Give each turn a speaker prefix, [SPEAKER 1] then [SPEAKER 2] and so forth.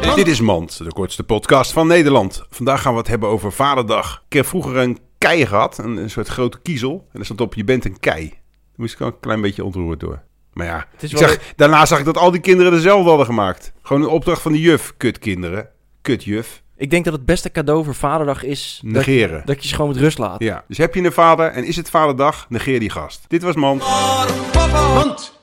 [SPEAKER 1] Dit, dit is Mand, de kortste podcast van Nederland. Vandaag gaan we het hebben over Vaderdag. Ik heb vroeger een kei gehad, een, een soort grote kiezel. En daar stond op, je bent een kei. Daar moest ik al een klein beetje ontroerd door. Maar ja,
[SPEAKER 2] is
[SPEAKER 1] ik
[SPEAKER 2] wel-
[SPEAKER 1] zag, daarna zag ik dat al die kinderen dezelfde hadden gemaakt. Gewoon een opdracht van de juf. Kut kinderen. Kut juf.
[SPEAKER 2] Ik denk dat het beste cadeau voor Vaderdag is dat,
[SPEAKER 1] Negeren.
[SPEAKER 2] dat je ze gewoon met rust laat.
[SPEAKER 1] Ja, dus heb je een vader en is het vaderdag, negeer die gast. Dit was Mand.
[SPEAKER 3] Want